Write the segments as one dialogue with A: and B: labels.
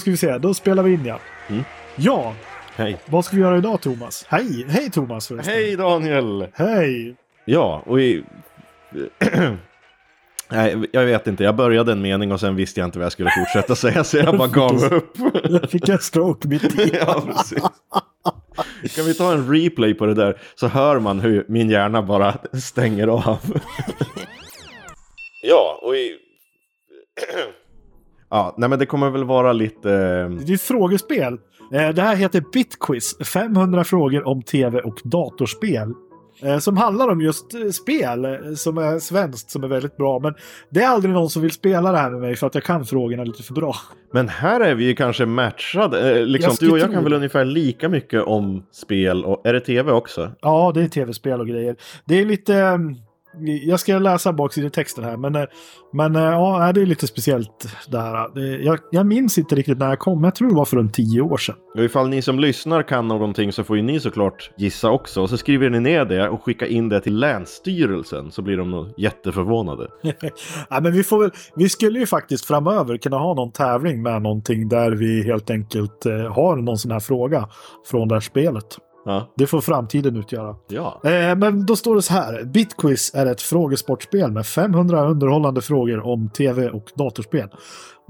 A: ska vi se, då spelar vi in ja.
B: Mm.
A: Ja,
B: Hej.
A: vad ska vi göra idag Thomas? Hej, hej Thomas förresten.
B: Hej Daniel!
A: Hej.
B: Ja, och i... Nej, jag vet inte. Jag började en mening och sen visste jag inte vad jag skulle fortsätta säga så jag bara gav upp.
A: Jag fick en stroke mitt i.
B: ja, precis. Kan vi ta en replay på det där så hör man hur min hjärna bara stänger av. ja, och i... ja, nej men det kommer väl vara lite... eh,
A: Det är ett frågespel. Eh, Det här heter Bitquiz. 500 frågor om tv och datorspel. Eh, Som handlar om just eh, spel eh, som är svenskt som är väldigt bra. Men det är aldrig någon som vill spela det här med mig för att jag kan frågorna lite för bra.
B: Men här är vi ju kanske matchade. Eh, liksom,
A: Jag skulle
B: du och jag
A: tro
B: kan väl
A: det.
B: ungefär lika mycket om spel och är det tv också?
A: Ja, det är tv-spel och grejer. Det är lite... eh, Jag ska läsa baksidetexten här, men, eh, men eh, ja, det är lite speciellt det här. Det- Jag, jag minns inte riktigt när jag kom, men jag tror det var för runt tio år sedan.
B: Och ifall ni som lyssnar kan någonting så får ju ni såklart gissa också. Och så skriver ni ner det och skickar in det till Länsstyrelsen så blir de nog jätteförvånade.
A: Ja, men vi, får väl, vi skulle ju faktiskt framöver kunna ha någon tävling med någonting där vi helt enkelt eh, har någon sån här fråga från det här spelet.
B: Ja.
A: Det får framtiden utgöra.
B: ja.
A: Eh, men då står det så här. Bitquiz är ett frågesportspel med 500 underhållande frågor om tv och datorspel.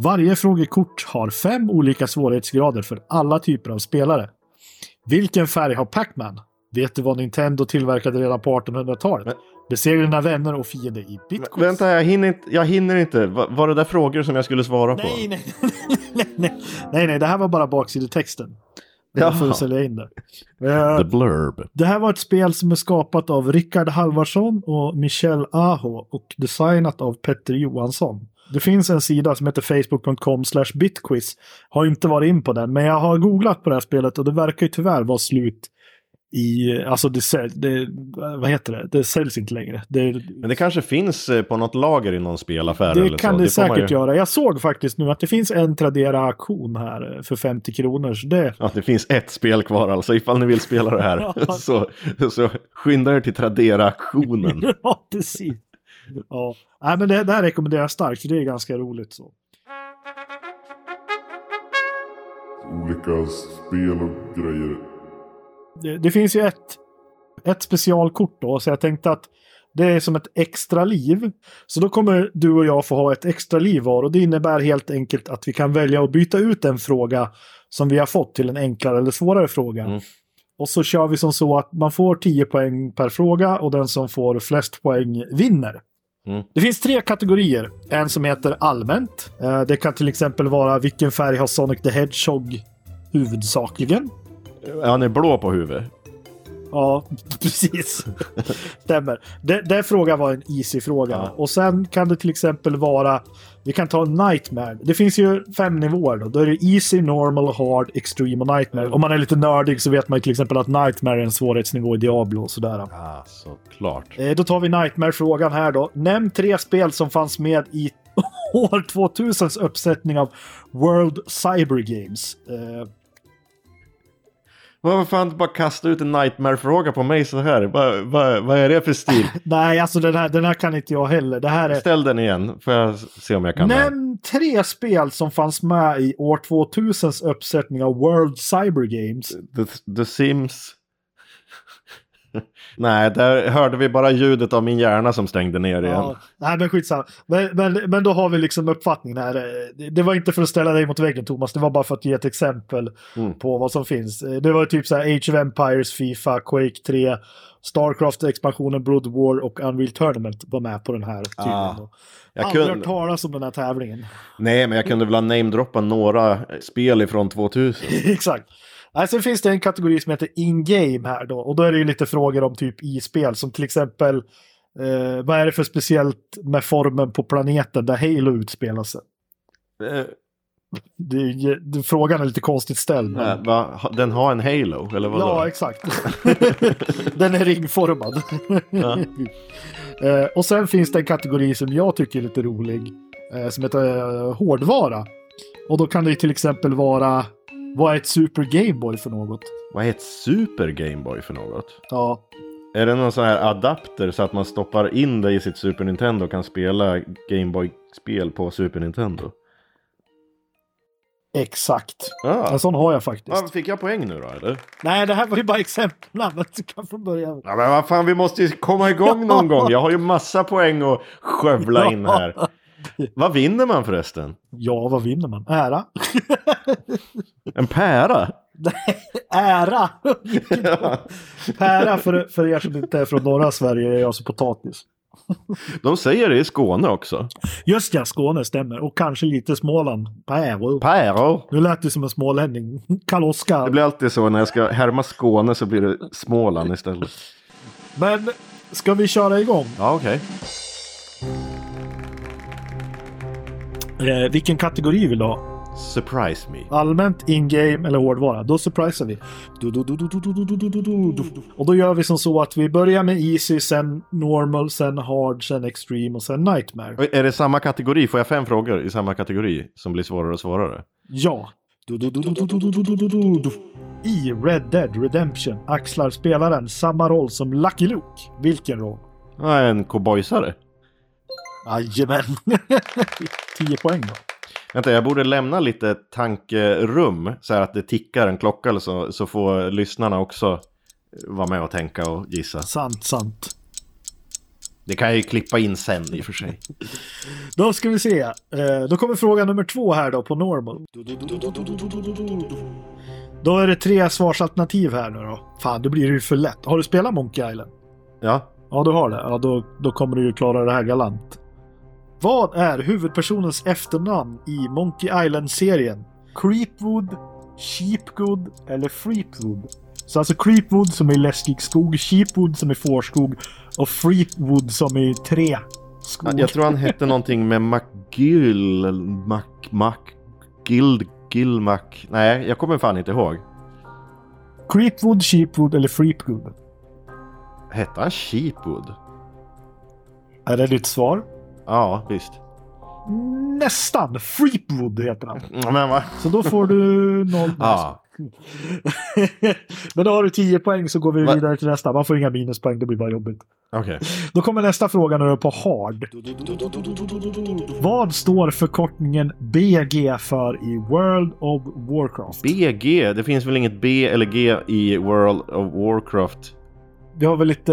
A: Varje frågekort har fem olika svårighetsgrader för alla typer av spelare. Vilken färg har Pac-Man? Vet du vad Nintendo tillverkade redan på 1800-talet?
B: Men-
A: Besegra dina vänner och fiender i Bitquiz.
B: Vänta, jag hinner inte. Jag hinner inte. Va, var det där frågor som jag skulle svara på?
A: Nej, nej, nej, nej, nej, nej, det här var bara baksidetexten. Jag får
B: Jaha.
A: sälja in det. Eh,
B: The blurb.
A: Det här var ett spel som är skapat av Rickard Halvarsson och Michel Aho och designat av Petter Johansson. Det finns en sida som heter facebook.com bitquiz. Har inte varit in på den, men jag har googlat på det här spelet och det verkar ju tyvärr vara slut i, alltså det, säl- det vad heter det, det säljs inte längre. Det,
B: Men det kanske finns eh, på något lager i någon spelaffär eller
A: det
B: så.
A: kan det
B: får man
A: säkert
B: ju...
A: göra. Jag såg faktiskt nu att det finns en Tradera-auktion här för 50 kronor. Så det,
B: Ja, det finns ett spel kvar alltså. Ifall ni vill spela det här
A: Ja.
B: så, så skynda er till Tradera-auktionen.
A: ja, precis. Ja. Nej, men det, det här rekommenderar jag starkt, för det är ganska roligt. så.
C: olika spel och grejer.
A: Det, det finns ju ett, ett specialkort då, så jag tänkte att det är som ett extra liv. Så då kommer du och jag få ha ett extra liv var och det innebär helt enkelt att vi kan välja att byta ut en fråga som vi har fått till en enklare eller svårare fråga.
B: Mm.
A: Och så kör vi som så att man får 10 poäng per fråga och den som får flest poäng vinner.
B: Mm.
A: Det finns tre kategorier. En som heter allmänt. Eh, Det kan till exempel vara vilken färg har Sonic the Hedgehog huvudsakligen?
B: Han är blå på huvudet.
A: Ja, precis. Stämmer. Den, den frågan var en easy fråga.
B: Ja.
A: Och sen kan det till exempel vara, vi kan ta nightmare. Det finns ju fem nivåer då. Då är det easy, normal, hard, extreme och nightmare. Om man är lite nördig så vet man ju till exempel att nightmare är en svårighetsnivå i Diablo och sådär.
B: Ja, såklart.
A: Eh, Då tar vi nightmare-frågan här då. Nämn tre spel som fanns med i år 2000s uppsättning av World Cyber Games. Eh,
B: Varför fan bara kasta ut en nightmare-fråga på mig så här? Vad vad- vad är det för stil?
A: nej, alltså den här, den här kan inte jag heller. Det här är...
B: Ställ den igen, får jag se om jag kan den.
A: Nämn tre spel som fanns med i år 2000s uppsättning av World Cyber Games.
B: The, The Sims. Nej, där hörde vi bara ljudet av min hjärna som stängde ner igen.
A: Ja, nej, men skitsamma. Men, men, men då har vi liksom uppfattningen här. Det- Det var inte för att ställa dig mot väggen, Thomas. Det var bara för att ge ett exempel
B: Mm.
A: på vad som finns. Eh, Det var ju typ så här Age of Empires, Fifa, Quake 3, Starcraft, expansionen Brood War och Unreal Tournament var med på den här
B: Ah,
A: tydligen. Jag
B: jag
A: Aldrig
B: kunde,
A: hört talas om den här tävlingen.
B: nej, men jag kunde väl ha namedroppat några spel ifrån 2000.
A: Exakt. Nej, sen finns det en kategori som heter in-game här då. Och då är det ju lite frågor om typ i spel. Som till exempel, eh, vad är det för speciellt med formen på planeten där Halo utspelar sig?
B: Eh,
A: Det, är ju- det, frågan är lite konstigt ställd. men-
B: nej, va, ha- den har en Halo, eller vadå?
A: ja, exakt. Den är ringformad.
B: Ja.
A: Eh, och sen finns det en kategori som jag tycker är lite rolig. eh, Som heter eh, hårdvara. Och då kan det ju till exempel vara, vad är ett Super Game Boy för något?
B: Vad är ett Super Game Boy för något?
A: Ja,
B: Är det någon sån här adapter så att man stoppar in det i sitt Super Nintendo Ah, och kan spela Gameboy-spel på Super Nintendo?
A: Exakt.
B: Ah.
A: En sån har jag faktiskt.
B: Ah, fick jag poäng nu då eller?
A: Nej, det här var ju bara exempel. Men du kan från början.
B: Ja, men vad fan, vi måste ju komma igång någon gång. Jag har ju massa poäng att skövla in här. Vad vinner man förresten?
A: Ja, vad vinner man? Ära?
B: En pära?
A: Ära! Pära, för, för er som inte är från norra Sverige, är alltså potatis.
B: De säger det i Skåne också.
A: Just ja, Skåne stämmer. Och kanske lite Småland. Päror.
B: Päror.
A: Nu lät det som en smålänning. Karl-Oskar.
B: Det blir alltid så när jag ska härma Skåne så blir det Småland istället.
A: Men ska vi köra igång?
B: Ja, okej.
A: Eh, vilken kategori vill du ha?
B: Surprise me.
A: Allmänt, in-game eller hårdvara? Då surprisar vi. Du, du, du, du, du, du, du, du, du, du, du. Och då gör vi som så att vi börjar med easy, sen normal, sen hard, sen extreme och sen nightmare.
B: Är det samma kategori? Får jag fem frågor i samma kategori som blir svårare och svårare?
A: Ja. Du, du, du, du, du, du, du, du, du, du, du. I Red Dead Redemption axlar spelaren samma roll som Lucky Luke. Vilken roll?
B: Ja, en cowboysare.
A: Jajamän! 10 poäng då.
B: Vänta, jag borde lämna lite tankerum så här att det tickar en klocka eller så, så får lyssnarna också eh, vara med och tänka och gissa.
A: Sant, sant.
B: Det kan jag ju klippa in sen i och för sig.
A: Då ska vi se. Eh, Då kommer fråga nummer två här då på normal. Då är det tre svarsalternativ här nu då. Fan, då blir det ju för lätt. Har du spelat Monkey Island?
B: Ja,
A: Ja, du har det. Ja, då, då kommer du ju klara det här galant. Vad är huvudpersonens efternamn i Monkey Island-serien? Creepwood, Sheepwood eller Freepwood? Så alltså Creepwood som är läskig skog, Sheepwood som är fårskog och Freepwood som är trä skog.
B: jag tror han hette någonting med McGill... Mac... Mac... Gild... Gilmac... Nej, jag kommer fan inte ihåg.
A: Creepwood, Sheepwood eller Freepwood?
B: Hette han Sheepwood?
A: Är det ditt svar?
B: Ja, visst.
A: Nästan! Freepwood heter han.
B: Mm, Men va?
A: Så då får du noll.
B: Ja.
A: Men då har du 10 poäng så går vi
B: Va?
A: vidare till nästa. Man får inga minuspoäng, det blir bara jobbigt.
B: Okej.
A: Då kommer nästa fråga när du är på hard. Vad står förkortningen BG för i World of Warcraft?
B: BG, det finns väl inget B eller G i World of Warcraft?
A: Vi har väl lite...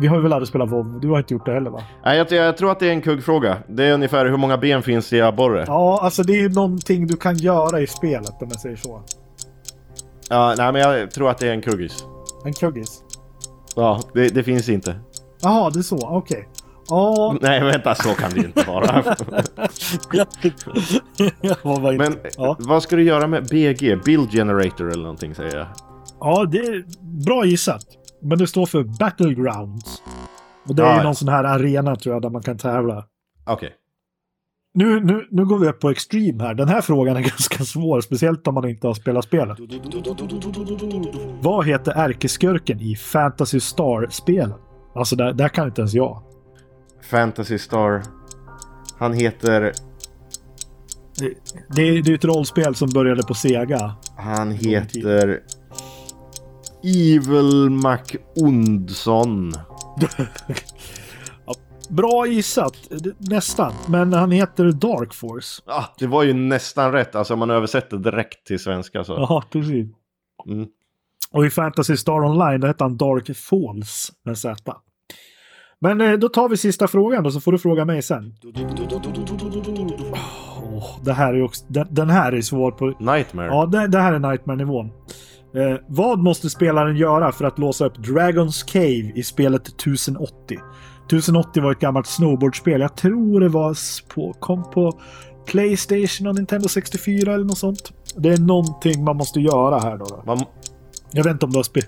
A: Vi har väl aldrig spelat WoW. Du har inte gjort det heller va?
B: Nej, jag, jag tror att det är en kuggfråga. Det är ungefär hur många ben finns i abborre?
A: Ja, alltså det är ju någonting du kan göra i spelet om jag säger så.
B: Ja, nej, men jag tror att det är en kuggis.
A: En kuggis.
B: Ja, det, det finns inte.
A: Jaha, det är så. Okej. Ja,
B: Nej, vänta, så kan det ju inte vara.
A: jag var bara inte...
B: Men
A: Ja.
B: vad ska du göra med BG? Build Generator eller någonting säger jag.
A: Ja, det är bra gissat. Men det står för Battlegrounds. Och det är
B: Ja,
A: ju
B: ja.
A: någon sån här arena tror jag där man kan tävla.
B: Okej.
A: Nu, nu, nu går vi upp på extreme här. Den här frågan är ganska svår, speciellt om man inte har spelat spelet. Vad heter ärkeskurken i Fantasy Star-spelet? Alltså, där, där kan inte ens jag.
B: Fantasy Star. Han heter...
A: Det, är- det är ett rollspel som började på Sega.
B: Han heter... Evil Mac Ondsson.
A: Bra gissat, nästan. Men han heter Dark Force.
B: Ah, det var ju nästan rätt, alltså om man översätter direkt till svenska så.
A: Ja, precis.
B: Mm.
A: Och i Fantasy Star Online där hette han Dark Falls med Z. Men eh, då tar vi sista frågan då, så får du fråga mig sen. Åh, det här är ju också, den, den här är svår på...
B: Nightmare.
A: Ja, det, det här är Nightmare-nivån. Eh, vad måste spelaren göra för att låsa upp Dragons Cave i spelet 1080? 1080 var ett gammalt snowboardspel. Jag tror det var s- på, kom på Playstation och Nintendo 64 eller något sånt. Det är någonting man måste göra här då. då.
B: Man,
A: Jag vet inte om du har spe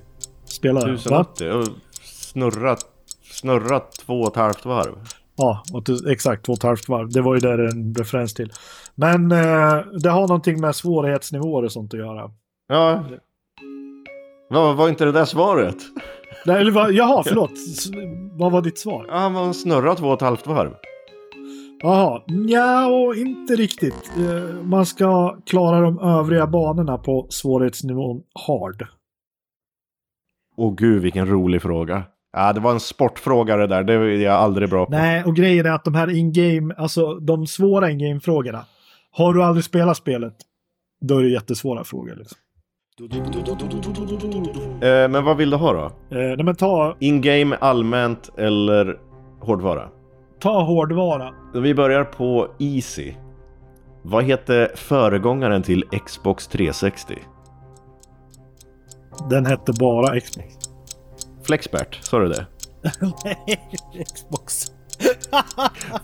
A: spelat den, va?
B: 1080 och snurra, snurra två och ett halvt varv.
A: Ja, och t- exakt. Två och ett halvt varv. Det var ju där en referens till. Men eh, det har någonting med svårighetsnivåer och sånt att göra.
B: Ja. Var, var inte det där svaret?
A: Nej, eller vad? Jaha, förlåt. S- vad var ditt svar?
B: Ja, man snurrar två och ett halvt varv.
A: Jaha, nja, och inte riktigt. Eh, man ska klara de övriga banorna på svårighetsnivån hard.
B: Åh gud, vilken rolig fråga. Ja, det var en sportfråga det där, det är jag aldrig bra på.
A: Nej, och grejen är att de här in-game, alltså de svåra in-game-frågorna. Har du aldrig spelat spelet? Då är det jättesvåra frågor. Liksom.
B: Eh, men vad vill du ha då?
A: Eh, nej, men ta,
B: In-game, allmänt eller hårdvara?
A: ta hårdvara.
B: Vi börjar på Easy. Vad hette föregångaren till Xbox 360?
A: Den hette bara Xbox.
B: Flexbert, sa du det?
D: Xbox.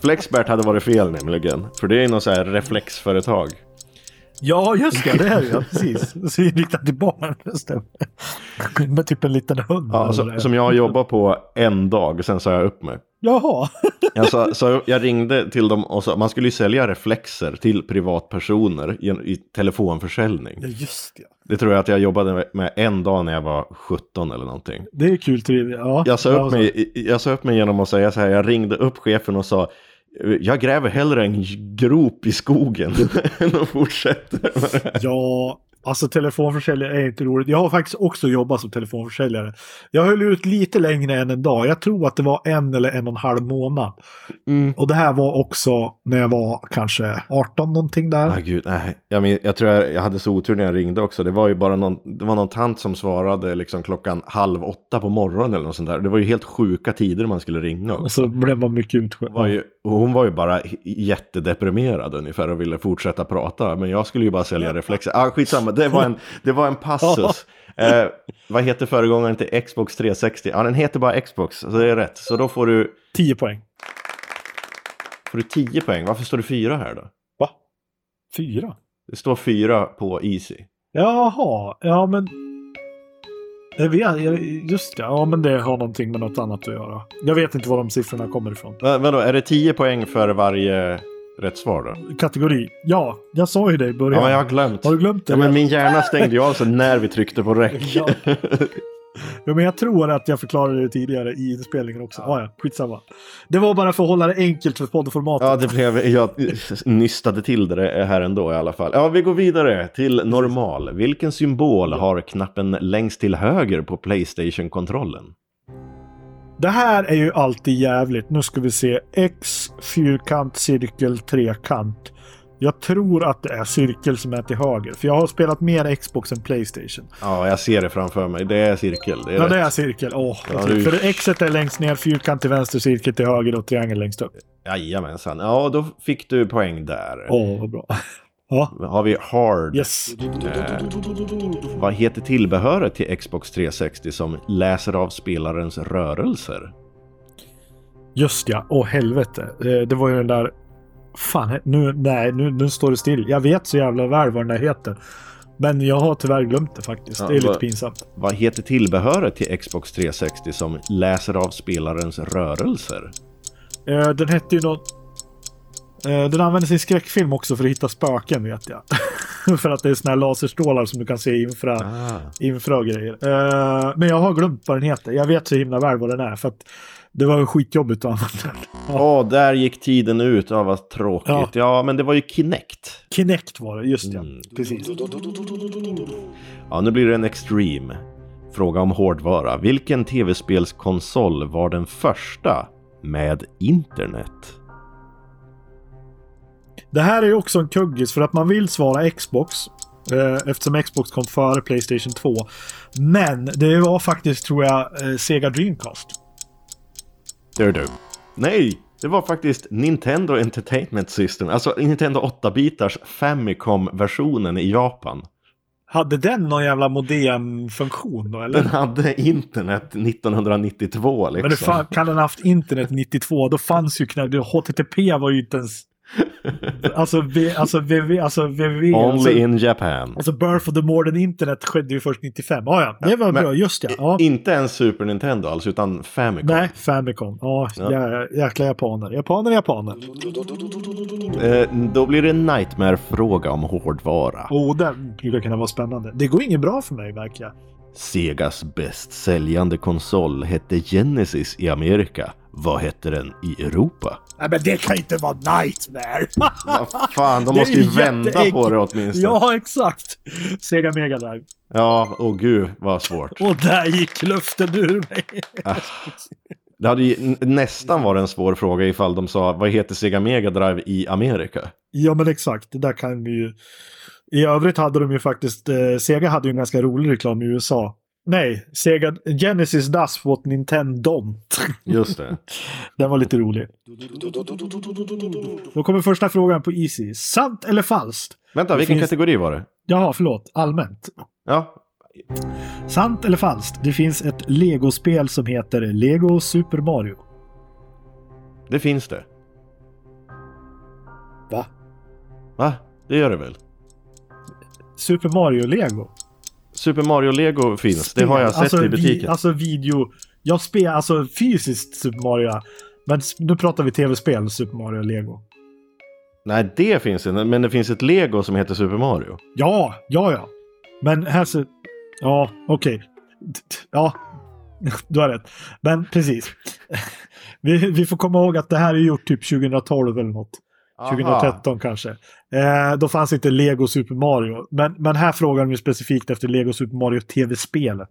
B: Flexbert hade varit fel nämligen, för det är något så här reflexföretag.
A: Ja, just det. Det är det ja, precis. Så inriktat till barn. Just det. Med typ en liten hund.
B: Ja,
A: eller
B: så,
A: det.
B: Alltså, som jag jobbar på en dag, sen sa jag upp mig.
A: Jaha.
B: Jag, sa, så jag ringde till dem och sa, man skulle ju sälja reflexer till privatpersoner i, en- i telefonförsäljning.
A: Ja, just det.
B: Det tror jag att jag jobbade med- med en dag när jag var 17 eller någonting.
A: Det är kul trivia. Ja,
B: Jag sa,
A: Ja,
B: upp
A: så.
B: mig, jag sa upp mig genom att säga så här, jag ringde upp chefen och sa jag gräver hellre en grop i skogen än att fortsätta med det här."
A: Ja, alltså telefonförsäljare är inte roligt. Jag har faktiskt också jobbat som telefonförsäljare. Jag höll ut lite längre än en dag. Jag tror att det var en eller en och en halv månad. Och det här var också när jag var kanske 18 någonting där.
B: Ah, gud, nej. Jag, men, jag tror jag, jag hade så otur när jag ringde också. Det var ju bara någon, det var någon tant som svarade liksom klockan halv åtta på morgonen eller något sånt där. Det var ju helt sjuka tider man skulle ringa.
A: Och
B: också.
A: så blev man mycket utskälld.
B: Hon var ju, och hon var ju bara h- jättedeprimerad ungefär och ville fortsätta prata. Men jag skulle ju bara sälja reflexer. Ah, skitsamma, det var en, det var en passus. Eh, vad heter föregångaren till Xbox 360? Ja, den heter bara Xbox, så det är rätt. Så då får du,
A: 10 poäng.
B: får du 10 poäng. Varför står det 4 här då?
A: Va? Fyra?
B: Det står 4 på Easy.
A: Jaha, ja men... Jag vet, jag- just det. Ja, men det har någonting med något annat att göra. Jag vet inte var de siffrorna kommer ifrån.
B: Men, vadå, är det 10 poäng för varje rätt svar då?
A: Kategori. Ja, jag sa ju det i
B: Ja,
A: början.
B: men jag har glömt.
A: Har du glömt det?
B: Ja, men min hjärna stängde ju av sig när vi tryckte på räck.
A: Ja. Ja, men jag tror att jag förklarade det tidigare i inspelningen också. Ja, ja, skitsamma. Det var bara för att hålla det enkelt för poddformatet.
B: Ja, det blev, jag nystade till det här ändå i alla fall. Ja, vi går vidare till normal. Vilken symbol har knappen längst till höger på Playstation-kontrollen?
A: Det här är ju alltid jävligt. Nu ska vi se. X, fyrkant, cirkel, trekant. Jag tror att det är cirkel som är till höger. För jag har spelat mer Xbox än Playstation.
B: Ja, jag ser det framför mig. Det är cirkel. Det är
A: Ja,
B: rätt.
A: det är cirkel. Åh,
B: Ja,
A: för
B: det är ju-
A: för X är längst ner, fyrkant till vänster, cirkel till höger och triangel längst upp.
B: Jajamensan. Ja, då fick du poäng där.
A: Åh, vad bra. Mm. Ja,
B: Har vi hard.
A: yes.
B: Vad heter tillbehöret till Xbox 360 som läser av spelarens rörelser?
A: Just ja, åh helvete. Eh, Det var ju den där... Fan, nu, nej, nu, nu står det still. Jag vet så jävla väl vad den där heter. Men jag har tyvärr glömt det faktiskt.
B: Ja,
A: det är lite
B: vad-
A: pinsamt.
B: Vad heter tillbehöret till Xbox 360 som läser av spelarens rörelser?
A: Eh, Den hette ju något... Eh, Den användes i en skräckfilm också för att hitta spöken vet jag. för att det är såna här laserstrålar som du kan se i infra,
B: Ah.
A: infra och grejer. Eh, Men jag har glömt vad den heter. Jag vet så himla väl vad den är. För att det var ju skitjobbigt att använda den. Ja.
B: Ja, oh, där gick tiden ut. Ja, vad tråkigt.
A: Ja.
B: Ja, men det var ju Kinect.
A: Kinect var det, just ja.
B: Mm.
A: Precis.
B: Ja, nu blir det en extreme. Fråga om hårdvara. Vilken tv-spelskonsol var den första med internet?
A: Det här är ju också en kuggis för att man vill svara Xbox. eh, Eftersom Xbox kom före Playstation 2. Men det var faktiskt, tror jag, eh, Sega Dreamcast.
B: Där du. Nej, det var faktiskt Nintendo Entertainment System. Alltså Nintendo 8-bitars Famicom-versionen i Japan.
A: Hade den någon jävla modemfunktion då, eller?
B: Den hade internet 1992 liksom.
A: Men det fan, kan den haft internet 92? Då fanns ju knappt... HTTP var ju inte ens... Alltså, v, alltså, v, alltså, v, alltså,
B: Only in Japan.
A: alltså, birth of the modern internet skedde ju först 95. Ah, ja, det var
B: Men-
A: bra. Just ja. ja.
B: Inte ens Super Nintendo alls, utan Famicom.
A: Nej, Famicom. Ja,
B: Ja.
A: ja. jäkla japaner. Japaner, japaner.
B: Eh, då blir det en nightmare-fråga om hårdvara.
A: Oh, den skulle kunna vara spännande. Det går inget bra för mig verkar jag.
B: Segas bäst säljande konsol hette Genesis i Amerika. Vad hette den i Europa?
A: Nej, men det kan ju inte vara nightmare!
B: Vad fan, de
A: Det är
B: måste ju
A: ju
B: vända på
A: jätteenkelt.
B: det åtminstone. Ja,
A: ja, exakt! Sega Mega Drive.
B: ja åh gud vad svårt.
A: Och där gick luften ur mig.
B: Det hade ju n- nästan varit en svår fråga ifall de sa vad heter Sega Mega Drive i Amerika?
A: Ja, men exakt. Det där kan vi ju... I övrigt hade de ju faktiskt, eh, Sega hade ju en ganska rolig reklam i USA. Nej, Sega Genesis Does What Nintendo Don't.
B: Just det.
A: Den var lite rolig. Då kommer första frågan på Easy. Sant eller falskt?
B: Vänta,
A: Det
B: vilken
A: finns-
B: kategori var det?
A: Jaha, förlåt. Allmänt.
B: Ja,
A: Sant eller falskt? Det finns ett Lego-spel som heter Lego Super Mario.
B: det finns det.
A: Va?
B: Va? Det gör det väl?
A: Super Mario Lego?
B: Super Mario Lego finns, det har jag sett
A: Alltså,
B: i butiken.
A: Vi, alltså video... Jag spelar alltså fysiskt Super Mario. Men s- nu pratar vi tv-spel, Super Mario Lego.
B: Nej, det finns inte, men det finns ett Lego som heter Super Mario.
A: Ja, ja, ja. Men här så... Ja, okej. T- t- Ja, du har rätt. Men precis. Vi, vi får komma ihåg att det här är gjort typ 2012 eller något. 2013 kanske. Eh, då fanns inte Lego Super Mario. Men, men här frågar de ju specifikt efter Lego Super Mario TV-spelet.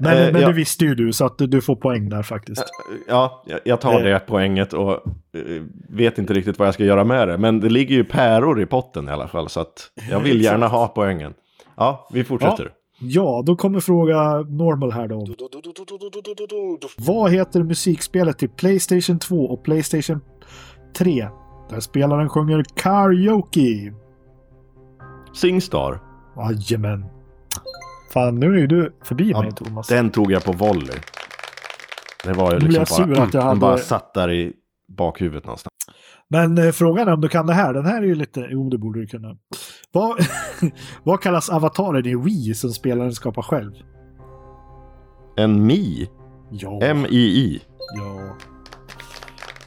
A: Men,
B: Eh,
A: men
B: ja. Eh.
A: du visste ju du, så att du, du får poäng där faktiskt.
B: Ja, jag- jag tar det poänget och eh, vet inte riktigt vad jag ska göra med det. Men det ligger ju päror i potten i alla fall, så att jag vill gärna ha poängen. Ja, vi fortsätter.
A: Ja, då kommer fråga Normal här då. Vad heter musikspelet till Playstation 2 och Playstation 3? Där spelaren sjunger karaoke.
B: Singstar.
A: Jajamän. Fan, nu är ju du förbi
B: Ja,
A: mig Thomas.
B: Den tog jag på volley. Det var ju
A: Nu blev
B: liksom
A: jag sur
B: bara,
A: att jag
B: den
A: hade-
B: bara satt där i bakhuvudet någonstans.
A: Men eh, frågan är om du kan det här. Den här är ju lite... Jo, det borde du kunna. Vad, vad kallas avataren i Wii som spelaren skapar själv?
B: En Mi.
A: Ja.
B: M-I-I.
A: Ja.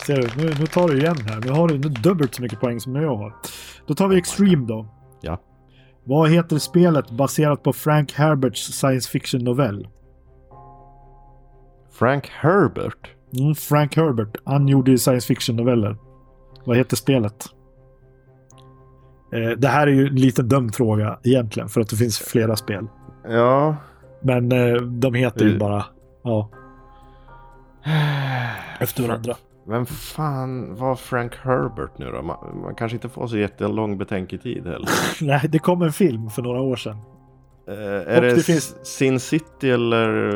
A: Ser du, nu, nu tar du igen här. Nu har du nu dubbelt så mycket poäng som jag har. Då tar vi Extreme då.
B: Ja.
A: Vad heter spelet baserat på Frank Herberts science fiction-novell?
B: Frank Herbert.
A: Mm, Frank Herbert, han gjorde ju science fiction-noveller. Vad heter spelet? Eh, det här är ju en liten dum fråga egentligen, för att det finns flera spel.
B: Ja.
A: Men eh, de heter ju
B: Eh.
A: bara... Ja. Efter varandra.
B: Vem fan var Frank Herbert nu då? Man, man kanske inte får så jättelång betänketid heller.
A: Nej, det kom en film för några år sedan.
B: Eh,
A: Och
B: är det,
A: det finns-
B: Sin City eller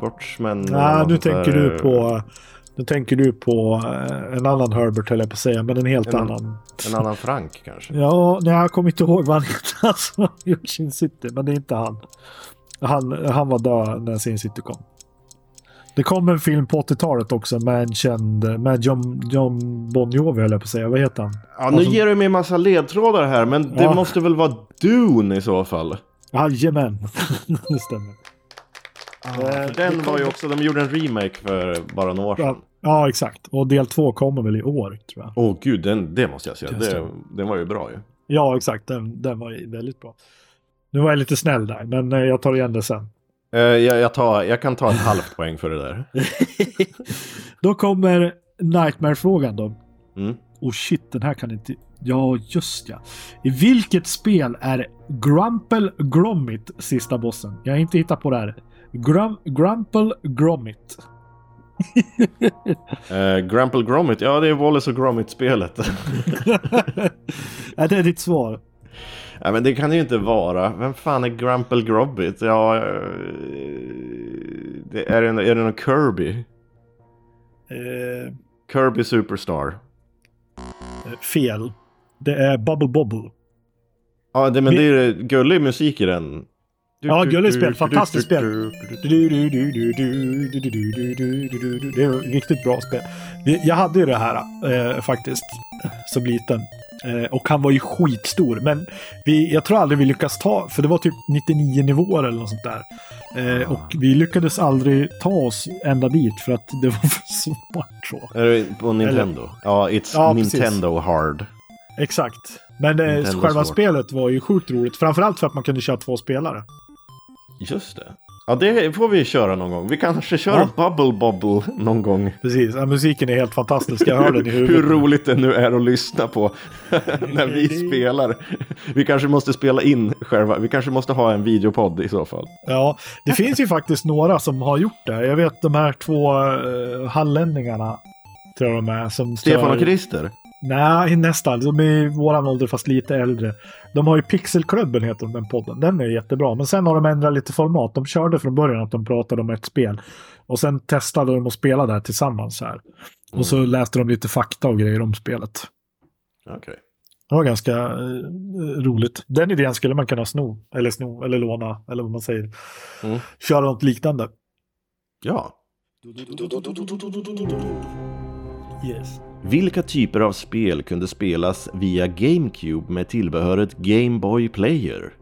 B: Watchmen? eller
A: Nej,
B: något
A: nu
B: sånt
A: tänker
B: där? eh,
A: du på... Nu tänker du på eh, en annan Herbert höll jag på att säga, men en helt
B: En-
A: annan.
B: En annan Frank kanske?
A: Ja, nej, jag kommer inte ihåg vad han heter han som har gjort Sin City, men det är inte han. Han, han var död när Sin City kom. Det kom en film på 80-talet också med en känd, med John, John Bon Jovi höll jag på att säga. Vad heter han?
B: Ja, nu
A: Och så-
B: ger du mig en massa ledtrådar här, men det
A: alltså- Ja.
B: måste väl vara Dune i så fall?
A: Jajamän, det stämmer.
B: Eh,
A: Eh,
B: För den var ju också, de gjorde en remake för bara några år
A: Ja,
B: sedan.
A: ja, exakt. Och del två kommer väl i år, tror jag.
B: Åh gud, den, det måste jag säga.
A: Just det.
B: Det, den var ju bra ju.
A: Ja, exakt. Den, den var ju väldigt bra. Nu var jag lite snäll där, men eh, jag tar igen det sen.
B: Eh, jag, jag, tar, jag kan ta ett halvt poäng för det där.
A: Då kommer Nightmare-frågan då.
B: Mm.
A: Oh shit, den här kan inte... Ja, just ja. I vilket spel är Grumple Gromit sista bossen? Jag har inte hittat på det här. Grum, Grumple Gromit.
B: Eh, Grumple Gromit, ja det är Wallace och Gromit-spelet.
A: ja, det är ditt svar.
B: Nej men det kan det ju inte vara. Vem fan är Grumple Gromit? Ja, eh, det, är, det, en- är det någon Kirby?
A: Eh,
B: Kirby Superstar.
A: fel. Det är Bubble Bobble.
B: Ja, det, men
A: Vi-
B: det är gullig musik i den.
A: Ja, gulligt spel. Fantastiskt spel. Det är ett riktigt bra spel. Jag hade ju det här eh, faktiskt som liten. Eh, och han var ju skitstor. Men vi, jag tror aldrig vi lyckas ta, för det var typ 99 nivåer eller något sånt där. Eh, och vi lyckades aldrig ta oss ända dit för att det var för svårt. Så.
B: Är det på Nintendo? Ja, It's
A: Ja, precis.
B: Nintendo Hard.
A: Exakt. Men eh,
B: Nintendo
A: själva
B: svårt.
A: spelet var ju sjukt roligt. Framförallt för att man kunde köra två spelare.
B: Just det. Ja, det får vi köra någon gång. Vi kanske kör Bubble Bobble någon gång.
A: Precis, ja, musiken är helt fantastisk. Jag hör den i
B: Hur,
A: huvudet.
B: hur roligt det nu är att lyssna på när vi spelar. Vi kanske måste spela in själva. Vi kanske måste ha en videopodd i så fall.
A: Ja, det finns ju faktiskt några som har gjort det. Jag vet de här två uh, eh, hallänningarna, tror jag de är. Som
B: Stefan
A: kör-
B: och Christer.
A: Nej, nästan. De är i våran ålder fast lite äldre. De har ju Pixelklubben heter de, den podden. Den är jättebra. Men sen har de ändrat lite format. De körde från början att de pratade om ett spel. Och sen testade de att spela där tillsammans här. Och
B: Mm.
A: så läste de lite fakta och grejer om spelet.
B: Okej.
A: Det var ganska eh, roligt. Den idén skulle man kunna sno. Eller sno, eller låna, eller vad man säger.
B: Mm.
A: Köra något liknande.
B: Ja.
A: Yes.
B: Vilka typer av spel kunde spelas via GameCube med tillbehöret Game Boy Player?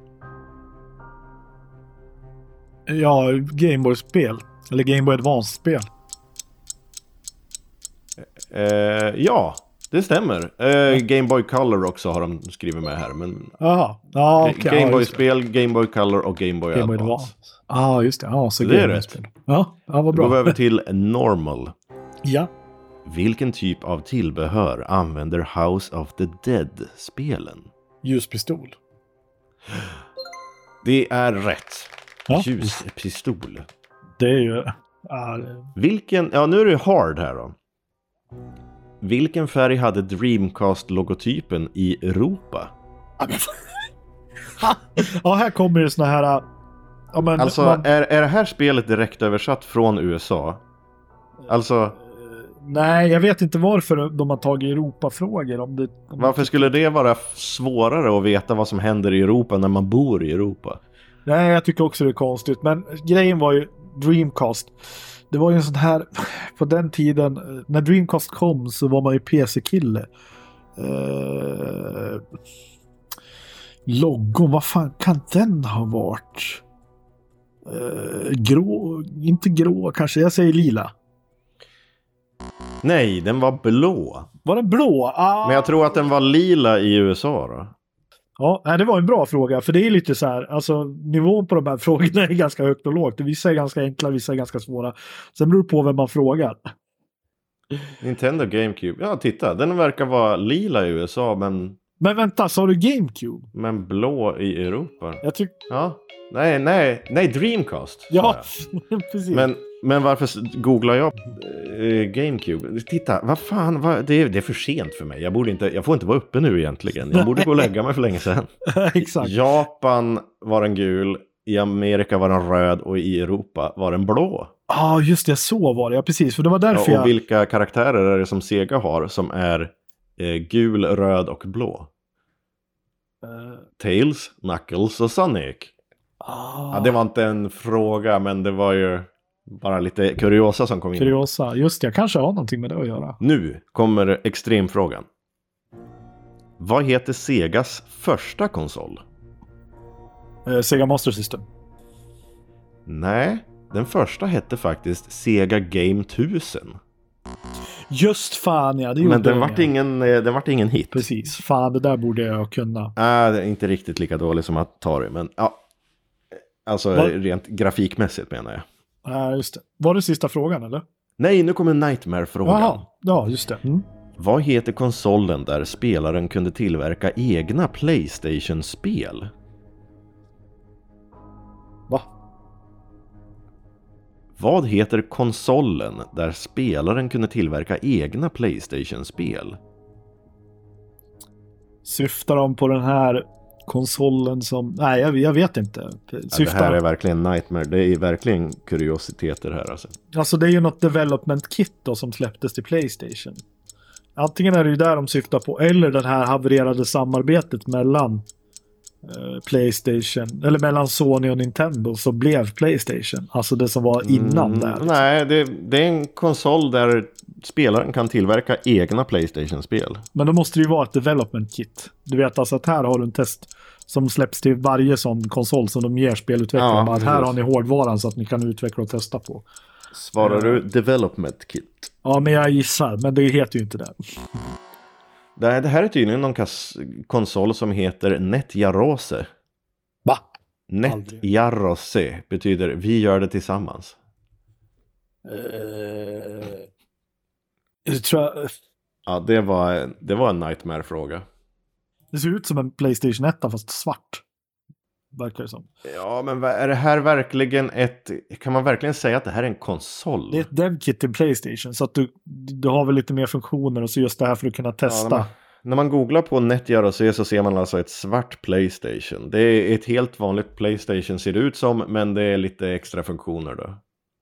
A: Ja, Gameboy-spel. Eller Gameboy Advance-spel.
B: Eh, ja, det stämmer. Eh, Game Boy Color också har de skrivit med här. Men
A: Jaha. Ja, okej. ja, just det.
B: Gameboy-spel, Game Boy Color och Game Boy
A: Game Boy
B: Advance.
A: Advance. Ja, just det. Ja, så
B: Det är
A: Game Boy-spel. Ja, ja vad
B: Då går vi
A: bra.
B: över till Normal.
A: Ja.
B: Vilken typ av tillbehör använder House of the Dead-spelen?
A: Ljuspistol.
B: Det är rätt.
A: Ja.
B: Ljuspistol.
A: Det är ju... ja, det-
B: Vilken, ja nu är det hard här då. Vilken färg hade Dreamcast-logotypen i Europa?
A: Ja, här kommer ju såna här... äh, Ja, men
B: Alltså,
A: man,
B: är, är det här spelet direkt översatt från USA? Alltså,
A: nej, jag vet inte varför de har tagit Europafrågor. Om det, om
B: varför skulle det vara svårare att veta vad som händer i Europa när man bor i Europa?
A: Nej, jag tycker också det är konstigt. Men grejen var ju Dreamcast. Det var ju en sån här, på den tiden, eh, när Dreamcast kom så var man ju PC-kille. Eh, loggon, vad fan kan den ha varit? Eh, grå, inte grå kanske, jag säger lila.
B: Nej, den var blå.
A: Var den blå? Ah.
B: Men jag tror att den var lila i USA då.
A: Ja, nej, det var en bra fråga, för det är lite så här, alltså nivån på de här frågorna är ganska högt och lågt. Vissa är ganska enkla, vissa är ganska svåra. Sen beror det på vem man frågar.
B: Nintendo GameCube. Ja, titta. Den verkar vara lila i USA, men,
A: Men vänta, sa du GameCube?
B: men blå i Europa.
A: Jag tyck...
B: Ja. Nej, nej, nej, Dreamcast. sa
A: Ja,
B: jag.
A: precis.
B: Men, men varför s- googlar jag eh, GameCube? Titta, vad fan, vad, det, är, det är för sent för mig. Jag, borde inte, jag får inte vara uppe nu egentligen. Jag borde gå och lägga mig för länge sedan.
A: Exakt.
B: Japan var den gul, i Amerika var den röd och i Europa var den blå.
A: Ja, just det, så var det. Ja, precis. För det var därför
B: Ja,
A: jag...
B: och vilka karaktärer är det som Sega har som är eh, gul, röd och blå?
A: Eh,
B: Tails, Knuckles och Sonic.
A: ah,
B: Ja, det var inte en fråga, men det var ju bara lite kuriosa som kom in.
A: Kuriosa. Just det, jag kanske har någonting med det att göra.
B: Nu kommer extremfrågan. Vad heter Segas första konsol?
A: Eh, Sega Master System.
B: Nej, den första hette faktiskt Sega Game 1000.
A: Just fan ja, det gjorde
B: Men den
A: jag.
B: vart ingen, eh, den vart ingen hit.
A: Precis, fan det där borde jag kunna.
B: Ah, det är inte riktigt lika dålig som Atari, men ja. Alltså
A: Vad-
B: rent grafikmässigt menar jag.
A: Ja, Eh, just det. Var det sista frågan eller?
B: Nej, nu kommer Nightmare-frågan.
A: Jaha, ja just det. Mm.
B: Vad heter konsolen där spelaren kunde tillverka egna Playstation-spel?
A: Va?
B: Vad heter konsolen där spelaren kunde tillverka egna Playstation-spel?
A: Syftar de på den här konsolen som... Nej, jag, jag vet inte.
B: Ja, det
A: Syftar...
B: här är verkligen nightmare. Det är verkligen kuriositeter här alltså.
A: Alltså det är ju något development kit då som släpptes till Playstation. Antingen är det ju där de syftar på, eller det här havererade samarbetet mellan eh, Playstation, eller mellan Sony och Nintendo som blev Playstation. Alltså det som var innan där.
B: Mm, nej, det, det är en konsol där spelaren kan tillverka egna Playstation-spel.
A: Men då måste det ju vara ett development kit. Du vet alltså att här har du en test som släpps till varje sån konsol som de ger spelutvecklarna.
B: Ja,
A: Bara att här
B: precis.
A: har ni hårdvaran så att ni kan utveckla och testa på.
B: Svarar du development kit?
A: Ja, men jag gissar. Men det heter ju inte det.
B: Det här, det här är tydligen någon kas- konsol som heter Netjarose.
A: Va? Aldrig.
B: Netjarose betyder vi gör det tillsammans.
A: Eh, jag tror jag,
B: Ja, det var, en- det var en nightmare-fråga.
A: det ser ut som en Playstation 1 fast svart. verkar det som.
B: Ja, men vad- är det här verkligen ett... Kan man verkligen säga att det här är en konsol?
A: Det är ett DevKit till Playstation, så att du, du har väl lite mer funktioner och så just det här för att kunna
B: Ja, när,
A: testa.
B: man, när man googlar på Netgear och ser så ser man alltså ett svart Playstation. Det är ett helt vanligt Playstation ser det ut som, men det är lite extra funktioner då.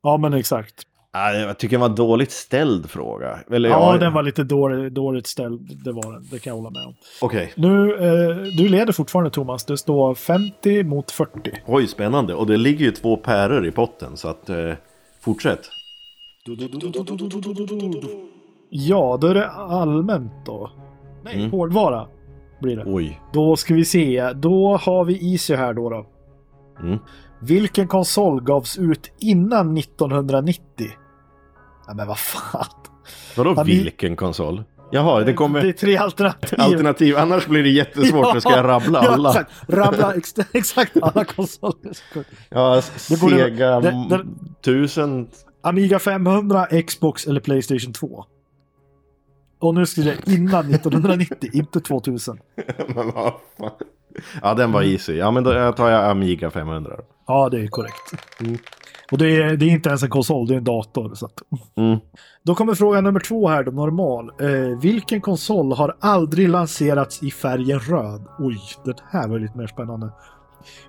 A: Ja, men exakt.
B: Ah, Jag tycker det var en dåligt ställd fråga. Eller,
A: Ja, den var lite dålig, dåligt ställd, det var den. Det kan jag hålla med om.
B: Okej.
A: Nu, eh, du leder fortfarande Thomas. Det står 50 mot 40.
B: Oj, spännande. Och det ligger ju två päror i potten, så att... Eh, fortsätt.
A: Ja, då är det allmänt då. Nej,
B: Mm.
A: hårdvara blir det.
B: Oj.
A: Då ska vi se. Då har vi Easy här då. då.
B: Mm.
A: Vilken konsol gavs ut innan 1990? Nej, men vad fan.
B: Vadå
A: Ja, vi-
B: vilken konsol? Jaha, det
A: Det är
B: kommer
A: tre alternativ.
B: alternativ. Annars blir det jättesvårt, för ska jag rabbla
A: Ja,
B: alla.
A: exakt. Rabbla ex exakt alla konsoler.
B: Ja,
A: Det borde-
B: Sega
A: det- det-
B: 1000.
A: Amiga 500, Xbox eller Playstation 2. Och nu skriver jag innan 1990, inte 2000.
B: Men vad fan. Ja, den var easy. Ja, men då tar jag Amiga 500. då.
A: Ja, det är korrekt.
B: Mm.
A: Och det är, det är inte ens en konsol, det är en dator. Så att.
B: Mm.
A: Då kommer fråga nummer två här, då, normal. Eh, vilken konsol har aldrig lanserats i färgen röd? Oj, den här var lite mer spännande.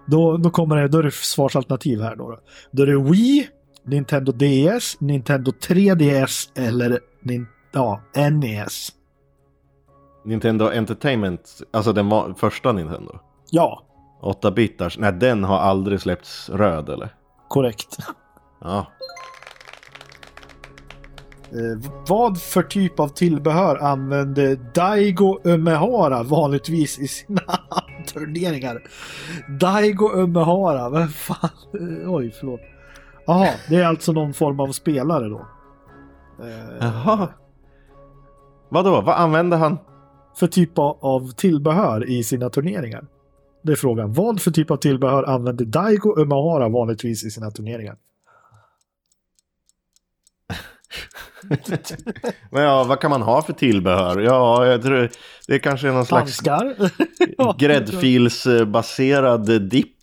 A: Då, då kommer det, då är det svarsalternativ här då. Då är det Wii, Nintendo DS, Nintendo 3DS eller nin, ja, E NES.
B: Nintendo Entertainment, alltså den var första Nintendo.
A: Ja,
B: 8-bitars. Nej, den har aldrig släppts röd, eller?
A: korrekt.
B: Ja.
A: Eh, vad för typ av tillbehör använde Daigo Umehara vanligtvis i sina turneringar? Daigo Umehara, vem fan? Eh, Oj, förlåt. Jaha, det är alltså någon form av spelare då. Eh,
B: Jaha. Vadå, vad använde han?
A: för typ av- av tillbehör i sina turneringar? Det är frågan. Vad för typ av tillbehör använder Daigo Umehara vanligtvis i sina turneringar?
B: Men ja, vad kan man ha för tillbehör? Ja, jag tror det är kanske är någon slags
A: Handskar?
B: gräddfilsbaserad dipp.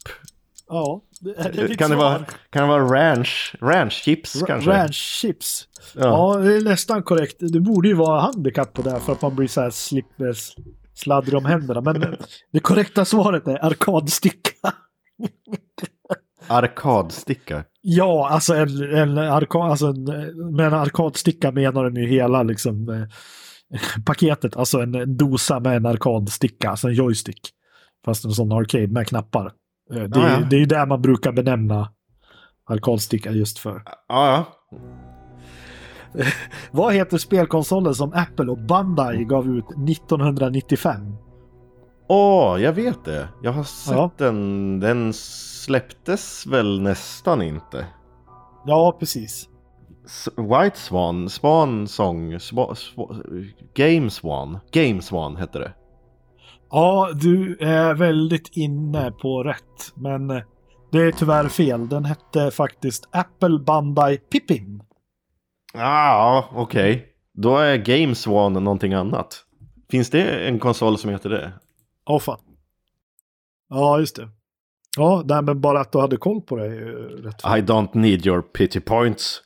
A: Ja. det är mitt
B: Kan det,
A: svar.
B: vara, kan det vara ranch? Ranchchips
A: Ra-
B: kanske?
A: Ranch chips.
B: Ja.
A: Ja. det är nästan korrekt. Det borde ju vara handikapp på det här för att man blir så här slipper sladdrig om händerna. Men det korrekta svaret är arkadsticka.
B: Arkadsticka.
A: Ja, alltså en, en arkad, alltså en, med en arkadsticka menar de ju hela liksom eh, paketet, alltså en, en dosa med en arkadsticka, alltså en joystick. Fast en sån arcade med knappar. Eh, Det,
B: Ah, ja.
A: är det är ju där man brukar benämna arkadsticka just för.
B: Ja, ja.
A: Vad heter spelkonsolen som Apple och Bandai gav ut 1995?
B: Åh, jag vet det. Jag har sett
A: Ja.
B: den. Den släpptes väl nästan inte.
A: Ja, precis.
B: S- White Swan, Swan Song, Swa- Swa- Game Swan. Game Swan hette det.
A: Ja, du är väldigt inne på rätt, men eh, det är tyvärr fel. Den hette faktiskt Apple Bandai Pippin.
B: Ah, ja, okej. Då är Game Swan någonting annat. Finns det en konsol som heter det?
A: Åh fan. Ja, just det. Ja, nej, men bara att du hade koll på det är ju rätt.
B: I don't need your pity points.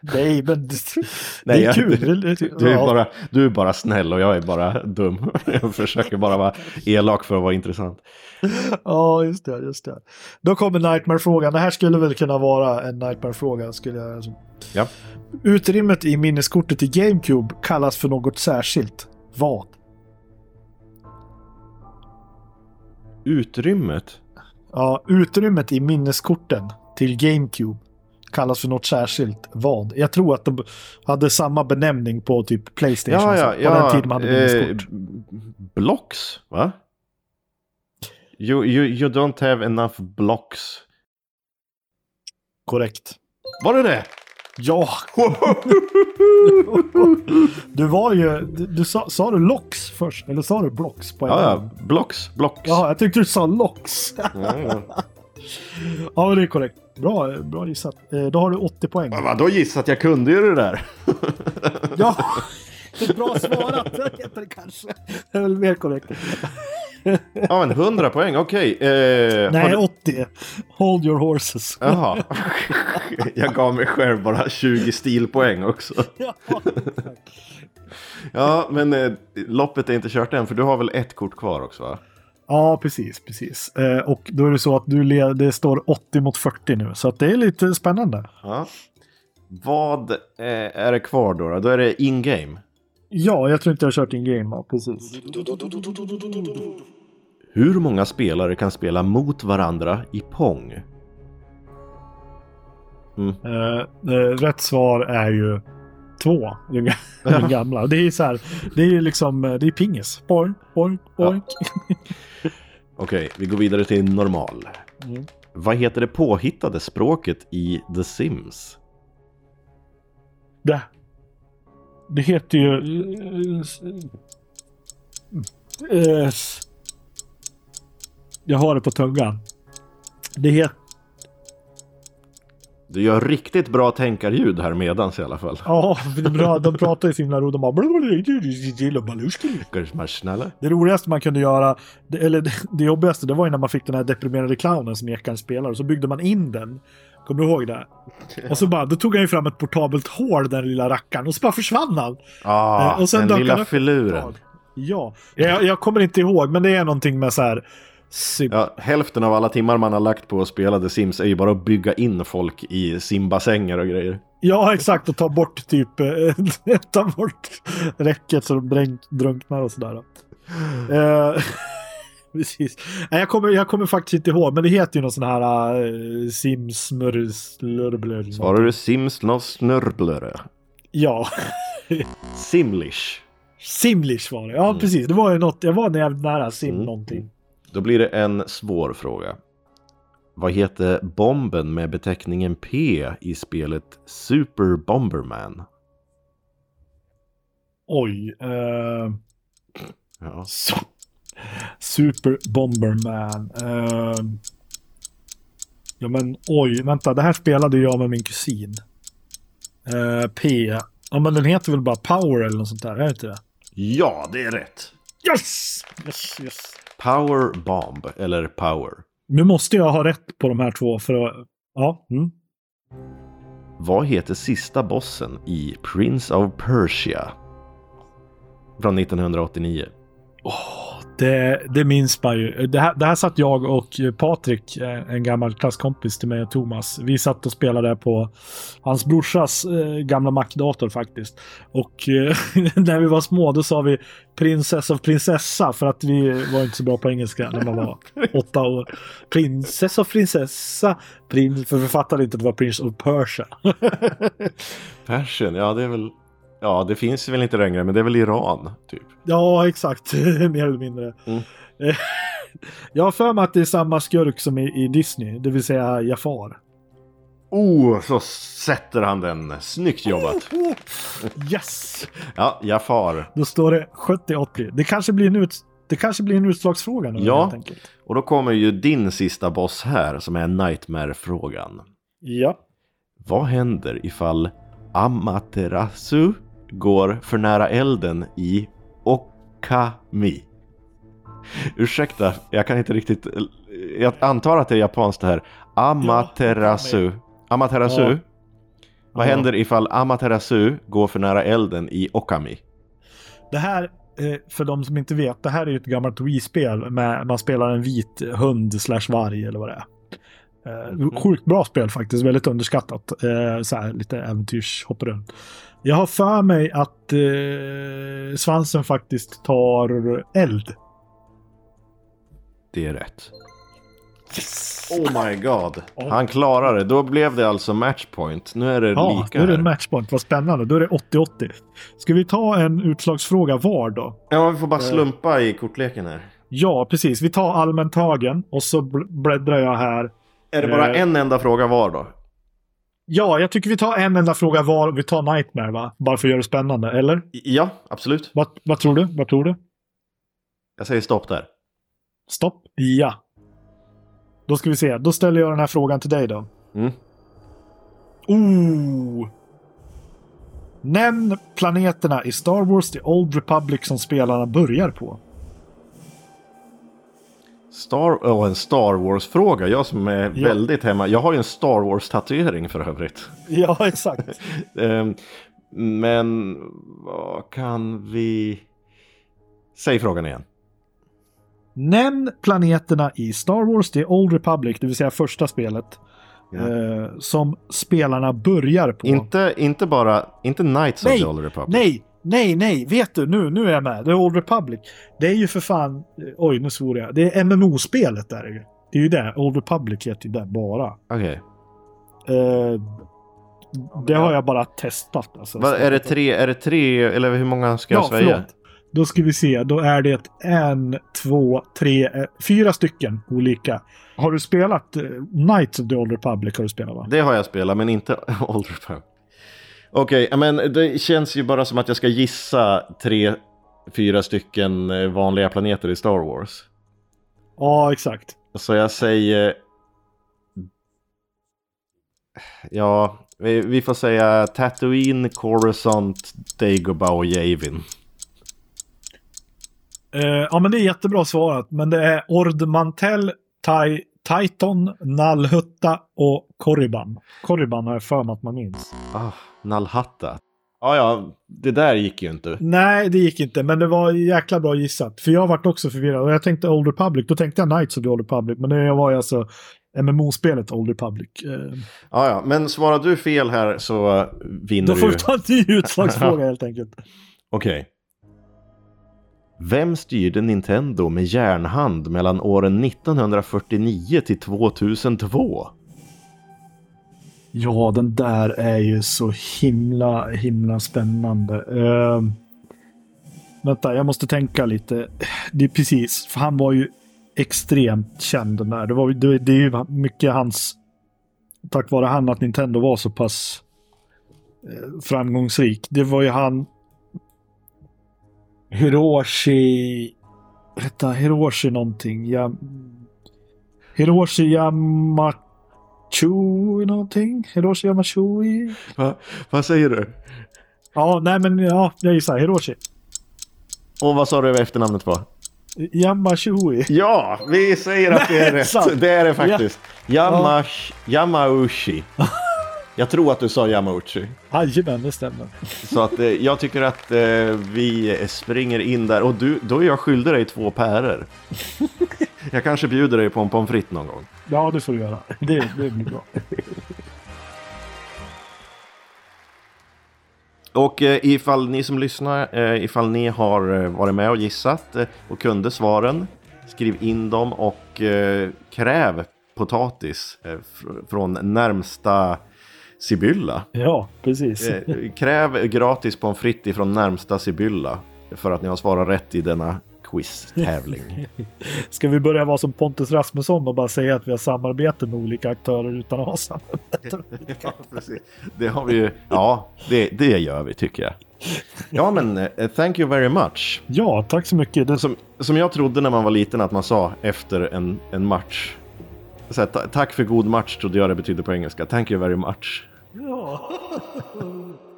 A: Nej, men det,
B: Nej,
A: det är
B: jag-
A: kul.
B: du-
A: Det- det-
B: Du är,
A: ja.
B: bara, du är bara snäll och jag är bara dum. Jag försöker bara vara elak för att vara intressant.
A: Ja, just det, just det. Då kommer Nightmare-frågan. Det här skulle väl kunna vara en Nightmare-fråga. Skulle jag... alltså.
B: Ja.
A: Utrymmet i minneskortet i GameCube kallas för något särskilt. Vad?
B: Utrymmet?
A: Ja, utrymmet i minneskorten till GameCube kallas för något särskilt. Vad? Jag tror att de hade samma benämning på typ Playstation. och så, på den tiden man hade
B: eh,
A: minneskort.
B: blocks, va? You, you, you don't have enough blocks.
A: Korrekt.
B: Var det det?
A: Ja, du var ju... Du, du sa, sa du locks först? Eller sa du blocks? På en
B: ja,
A: gång?
B: ja, blocks, blocks.
A: ja, jag tyckte du sa locks.
B: Ja, ja.
A: Ja, men det är korrekt. Bra, bra gissat. Eh, Då har du 80 poäng.
B: Men Vadå gissat? Jag kunde ju det där.
A: Ja, bra svarat. Det heter det kanske. Det är väl mer korrekt.
B: Ja, men 100 poäng, okej. Eh, har
A: Nej,
B: du-
A: 80. Hold your horses.
B: Jaha. Jag gav mig själv bara 20 stilpoäng också.
A: Ja, tack.
B: Ja, men eh, loppet är inte kört än, för du har väl ett kort kvar också? Va?
A: ja, precis. precis. Eh, och då är det så att du led, det står 80 mot 40 nu, så att det är lite spännande.
B: Ja. Vad eh, är det kvar då? Då, då är det in-game.
A: Ja, jag tror inte jag har kört in game. Ja, precis.
B: Hur många spelare kan spela mot varandra i Pong?
A: Eh, eh, rätt svar är ju två. Den ga- den gamla. Det är så här, det är ju liksom, eh, det är pingis. Boink, boink, boink.
B: Okej, vi går vidare till normal.
A: Mm.
B: Vad heter det påhittade språket i The Sims?
A: Det, det heter ju... eh, s- eh, s- Jag har det på tungan. Det heter...
B: Du gör riktigt bra tänkarljud här medans i alla fall.
A: Ja, det är bra, de pratar ju så himla roligt. De bara...
B: Kanske man snälla?
A: Det roligaste man kunde göra, det- eller det- det jobbigaste, det var ju när man fick den här deprimerade clownen som Ekan spelar och så byggde man in den. Kommer du ihåg det? Och så bara, då tog han ju fram ett portabelt hål, den lilla rackaren, och så bara försvann han.
B: Ah,
A: Eh, och sen
B: den
A: dök
B: lilla
A: han upp ett
B: filuren.
A: Ja, jag, jag kommer inte ihåg, men det är någonting med så här... sy-
B: Ja, hälften av alla timmar man har lagt på att spela The Sims är ju bara att bygga in folk i simbassänger och grejer.
A: Ja, exakt. Och ta bort typ... eh, ta bort räcket så de dränk, drunknar och sådär. Eh, precis. Nej, jag, kommer, jag kommer faktiskt inte ihåg, men det heter ju någon sån här uh, simsmurslurblur.
B: Svarar du Sims någon snörblöre?
A: Ja,
B: Simlish.
A: simlish var det. Ja,
B: Mm.
A: precis. Det var ju något. Jag var jävligt nära sim
B: Mm.
A: någonting.
B: Då blir det en svår fråga. Vad heter bomben med beteckningen P i spelet Super Bomberman?
A: Oj. eh,
B: Ja.
A: så. Super Bomberman. Eh, ja, men oj. Vänta, det här spelade jag med min kusin. Eh, P. Ja, men den heter väl bara Power eller något sånt där? Är det inte det?
B: ja, det är rätt!
A: Yes! Yes, yes.
B: Power Bomb, eller Power.
A: Nu måste jag ha rätt på de här två för att... Ja. Mm.
B: Vad heter sista bossen i Prince of Persia? Från 1989.
A: Det, det minns man ju. Det här, det här satt jag och Patrik, eh, en gammal klasskompis till mig och Thomas. Vi satt och spelade på hans brorsas eh, gamla Mac-dator faktiskt. Och eh, när vi var små då sa vi prinsess och prinsessa för att vi var inte så bra på engelska när man var åtta år. Prinsess och prinsessa. Prins, för vi fattade inte att det var Prince of Persia.
B: Persien, ja det är väl... Ja, det finns väl inte längre, men det är väl Iran, typ.
A: Ja, exakt. Mer eller mindre.
B: Mm.
A: Eh, Jag har för mig att det är samma skurk som i, i Disney, det vill säga Jafar.
B: Oh, så sätter han den. Snyggt jobbat!
A: Oh, yes!
B: Ja, Jafar.
A: Då står det 70-80. Det kanske blir en, ut, det kanske blir en utslagsfråga nu
B: Ja.
A: helt enkelt.
B: Och då kommer ju din sista boss här, som är Nightmare-frågan.
A: Ja.
B: Vad händer ifall Amaterasu går för nära elden i Okami? Ursäkta, jag kan inte riktigt... Jag antar att det är japanskt det här. Amaterasu. Amaterasu.
A: Ja.
B: Vad
A: Ja.
B: händer ifall Amaterasu går för nära elden i Okami?
A: Det här, eh, för de som inte vet, det här är ju ett gammalt Wii-spel. Med, man spelar en vit hund slash varg eller vad det är.
B: Mhm.
A: Eh, sjukt bra spel faktiskt, väldigt underskattat. Eh, så här, lite äventyrs, hoppar runt. Jag har för mig att eh, svansen faktiskt tar eld.
B: Det är rätt.
A: Yes!
B: Oh my god.
A: Oh.
B: Han klarar det. Då blev det alltså matchpoint. Nu är det
A: Ja,
B: lika
A: nu är det en
B: här.
A: matchpoint. Vad spännande. Då är det 80-80. Ska vi ta en utslagsfråga var då?
B: Ja, vi får bara slumpa i kortleken här.
A: Ja, precis. Vi tar allmänt tagen och så bl- bläddrar jag här.
B: Är det bara
A: Eh.
B: en enda fråga var då?
A: Ja, jag tycker vi tar en enda fråga var och vi tar Nightmare, va? Bara för att göra det spännande, eller?
B: Ja, absolut.
A: Vad, vad tror du? Vad tror du?
B: Jag säger stopp där.
A: Stopp. Ja. Då ska vi se. Då ställer jag den här frågan till dig då.
B: Mm.
A: Oh! Nämn planeterna i Star Wars The Old Republic som spelarna börjar på.
B: Star, oh, en Star Wars-fråga. Jag som är
A: Ja.
B: väldigt hemma. Jag har ju en Star Wars-tatuering för övrigt.
A: Ja, exakt.
B: Ehm, men vad kan vi... Säg frågan igen.
A: Nämn planeterna i Star Wars The Old Republic, det vill säga första spelet,
B: Ja.
A: eh, som spelarna börjar på.
B: Inte, inte bara, inte Knights
A: Nej,
B: of the Old Republic.
A: Nej, nej, nej, vet du, nu, nu är jag med. The Old Republic. Det är ju för fan, eh, oj nu svor jag, det är MMO-spelet där ju. Det är ju det, Old Republic heter ju det bara.
B: Okej.
A: Eh, det
B: ja.
A: har jag bara testat. Alltså.
B: Vad- Är det tre, är det tre, eller hur många ska jag
A: Ja,
B: säga?
A: förlåt. Då ska vi se, då är det en, två, tre, eh, fyra stycken olika. Har du spelat eh, Knights of the Old Republic? Har du spelat va?
B: Det har jag spelat, men inte Old Republic. Okej, men det känns ju bara som att jag ska gissa tre, fyra stycken eh, vanliga planeter i Star Wars.
A: Ja, exakt.
B: Så jag säger... Ja, vi, vi får säga Tatooine, Coruscant, Dagobah och Yavin.
A: Eh, ja, men det är jättebra svarat. Men det är Ordmantel, tai, Titan, Nallhutta och Korriban. Korriban har jag för mig att man minns.
B: Ah, Nalhatta. Ja, ja, det där gick ju inte.
A: Nej, det gick inte, men det var jäkla bra gissat. För jag vart också förvirrad. Och jag tänkte Old Republic, då tänkte jag Knights of the Old Republic. Men det var ju alltså MMO-spelet Old Republic. Eh,
B: Ja, Ah, ja, men svarar du fel här så eh, vinner
A: Då får
B: du.
A: vi ta en ny utslagsfråga helt enkelt.
B: Okej. Vem styrde Nintendo med järnhand mellan åren 1949 till 2002?
A: Ja, den där är ju så himla, himla spännande. Uh, vänta, jag måste tänka lite. Det är precis, för han var ju extremt känd den där. Det, var, ju- det, det är ju mycket hans... Tack vare han att Nintendo var så pass eh, framgångsrik. Det var ju han... Hiroshi... Hette han Hiroshi någonting? Ja, Hiroshi Yamaka... Chui någonting? Hiroshi Yamashui?
B: Va? Vad säger du?
A: Ja, nej men ja, jag gissar Hiroshi.
B: Och vad sa du efternamnet var?
A: Yamashui.
B: Ja, vi säger att det är
A: Nej,
B: rätt.
A: sant.
B: Det är det faktiskt. Yamash, Yamauchi. Jag tror att du sa Yamauchi.
A: Jajamän, det stämmer.
B: Så att, eh, jag tycker att eh, vi springer in där. Och du, då är jag skyldig dig två päror. Jag kanske bjuder dig på en pommes frites någon gång.
A: Ja, det får du göra. Det, det blir bra.
B: Och eh, ifall ni som lyssnar, eh, ifall ni har eh, varit med och gissat eh, och kunde svaren, skriv in dem och eh, kräv potatis eh, fr- från närmsta Sibylla.
A: Ja, precis.
B: Eh, kräv gratis pommes frites ifrån närmsta Sibylla för att ni har svarat rätt i denna quiz-tävling.
A: Ska vi börja vara som Pontus Rasmusson och bara säga att vi har samarbete med olika aktörer utan att ha samarbete?
B: ja, precis. Det har vi ju. Ja, det, det gör vi tycker jag. Ja, men eh, thank you very much.
A: Ja, tack så mycket. Det,
B: Som, som jag trodde när man var liten att man sa efter en, en match. Så här, ta- tack för god match trodde jag det betydde på engelska. Thank you very much.
A: ja.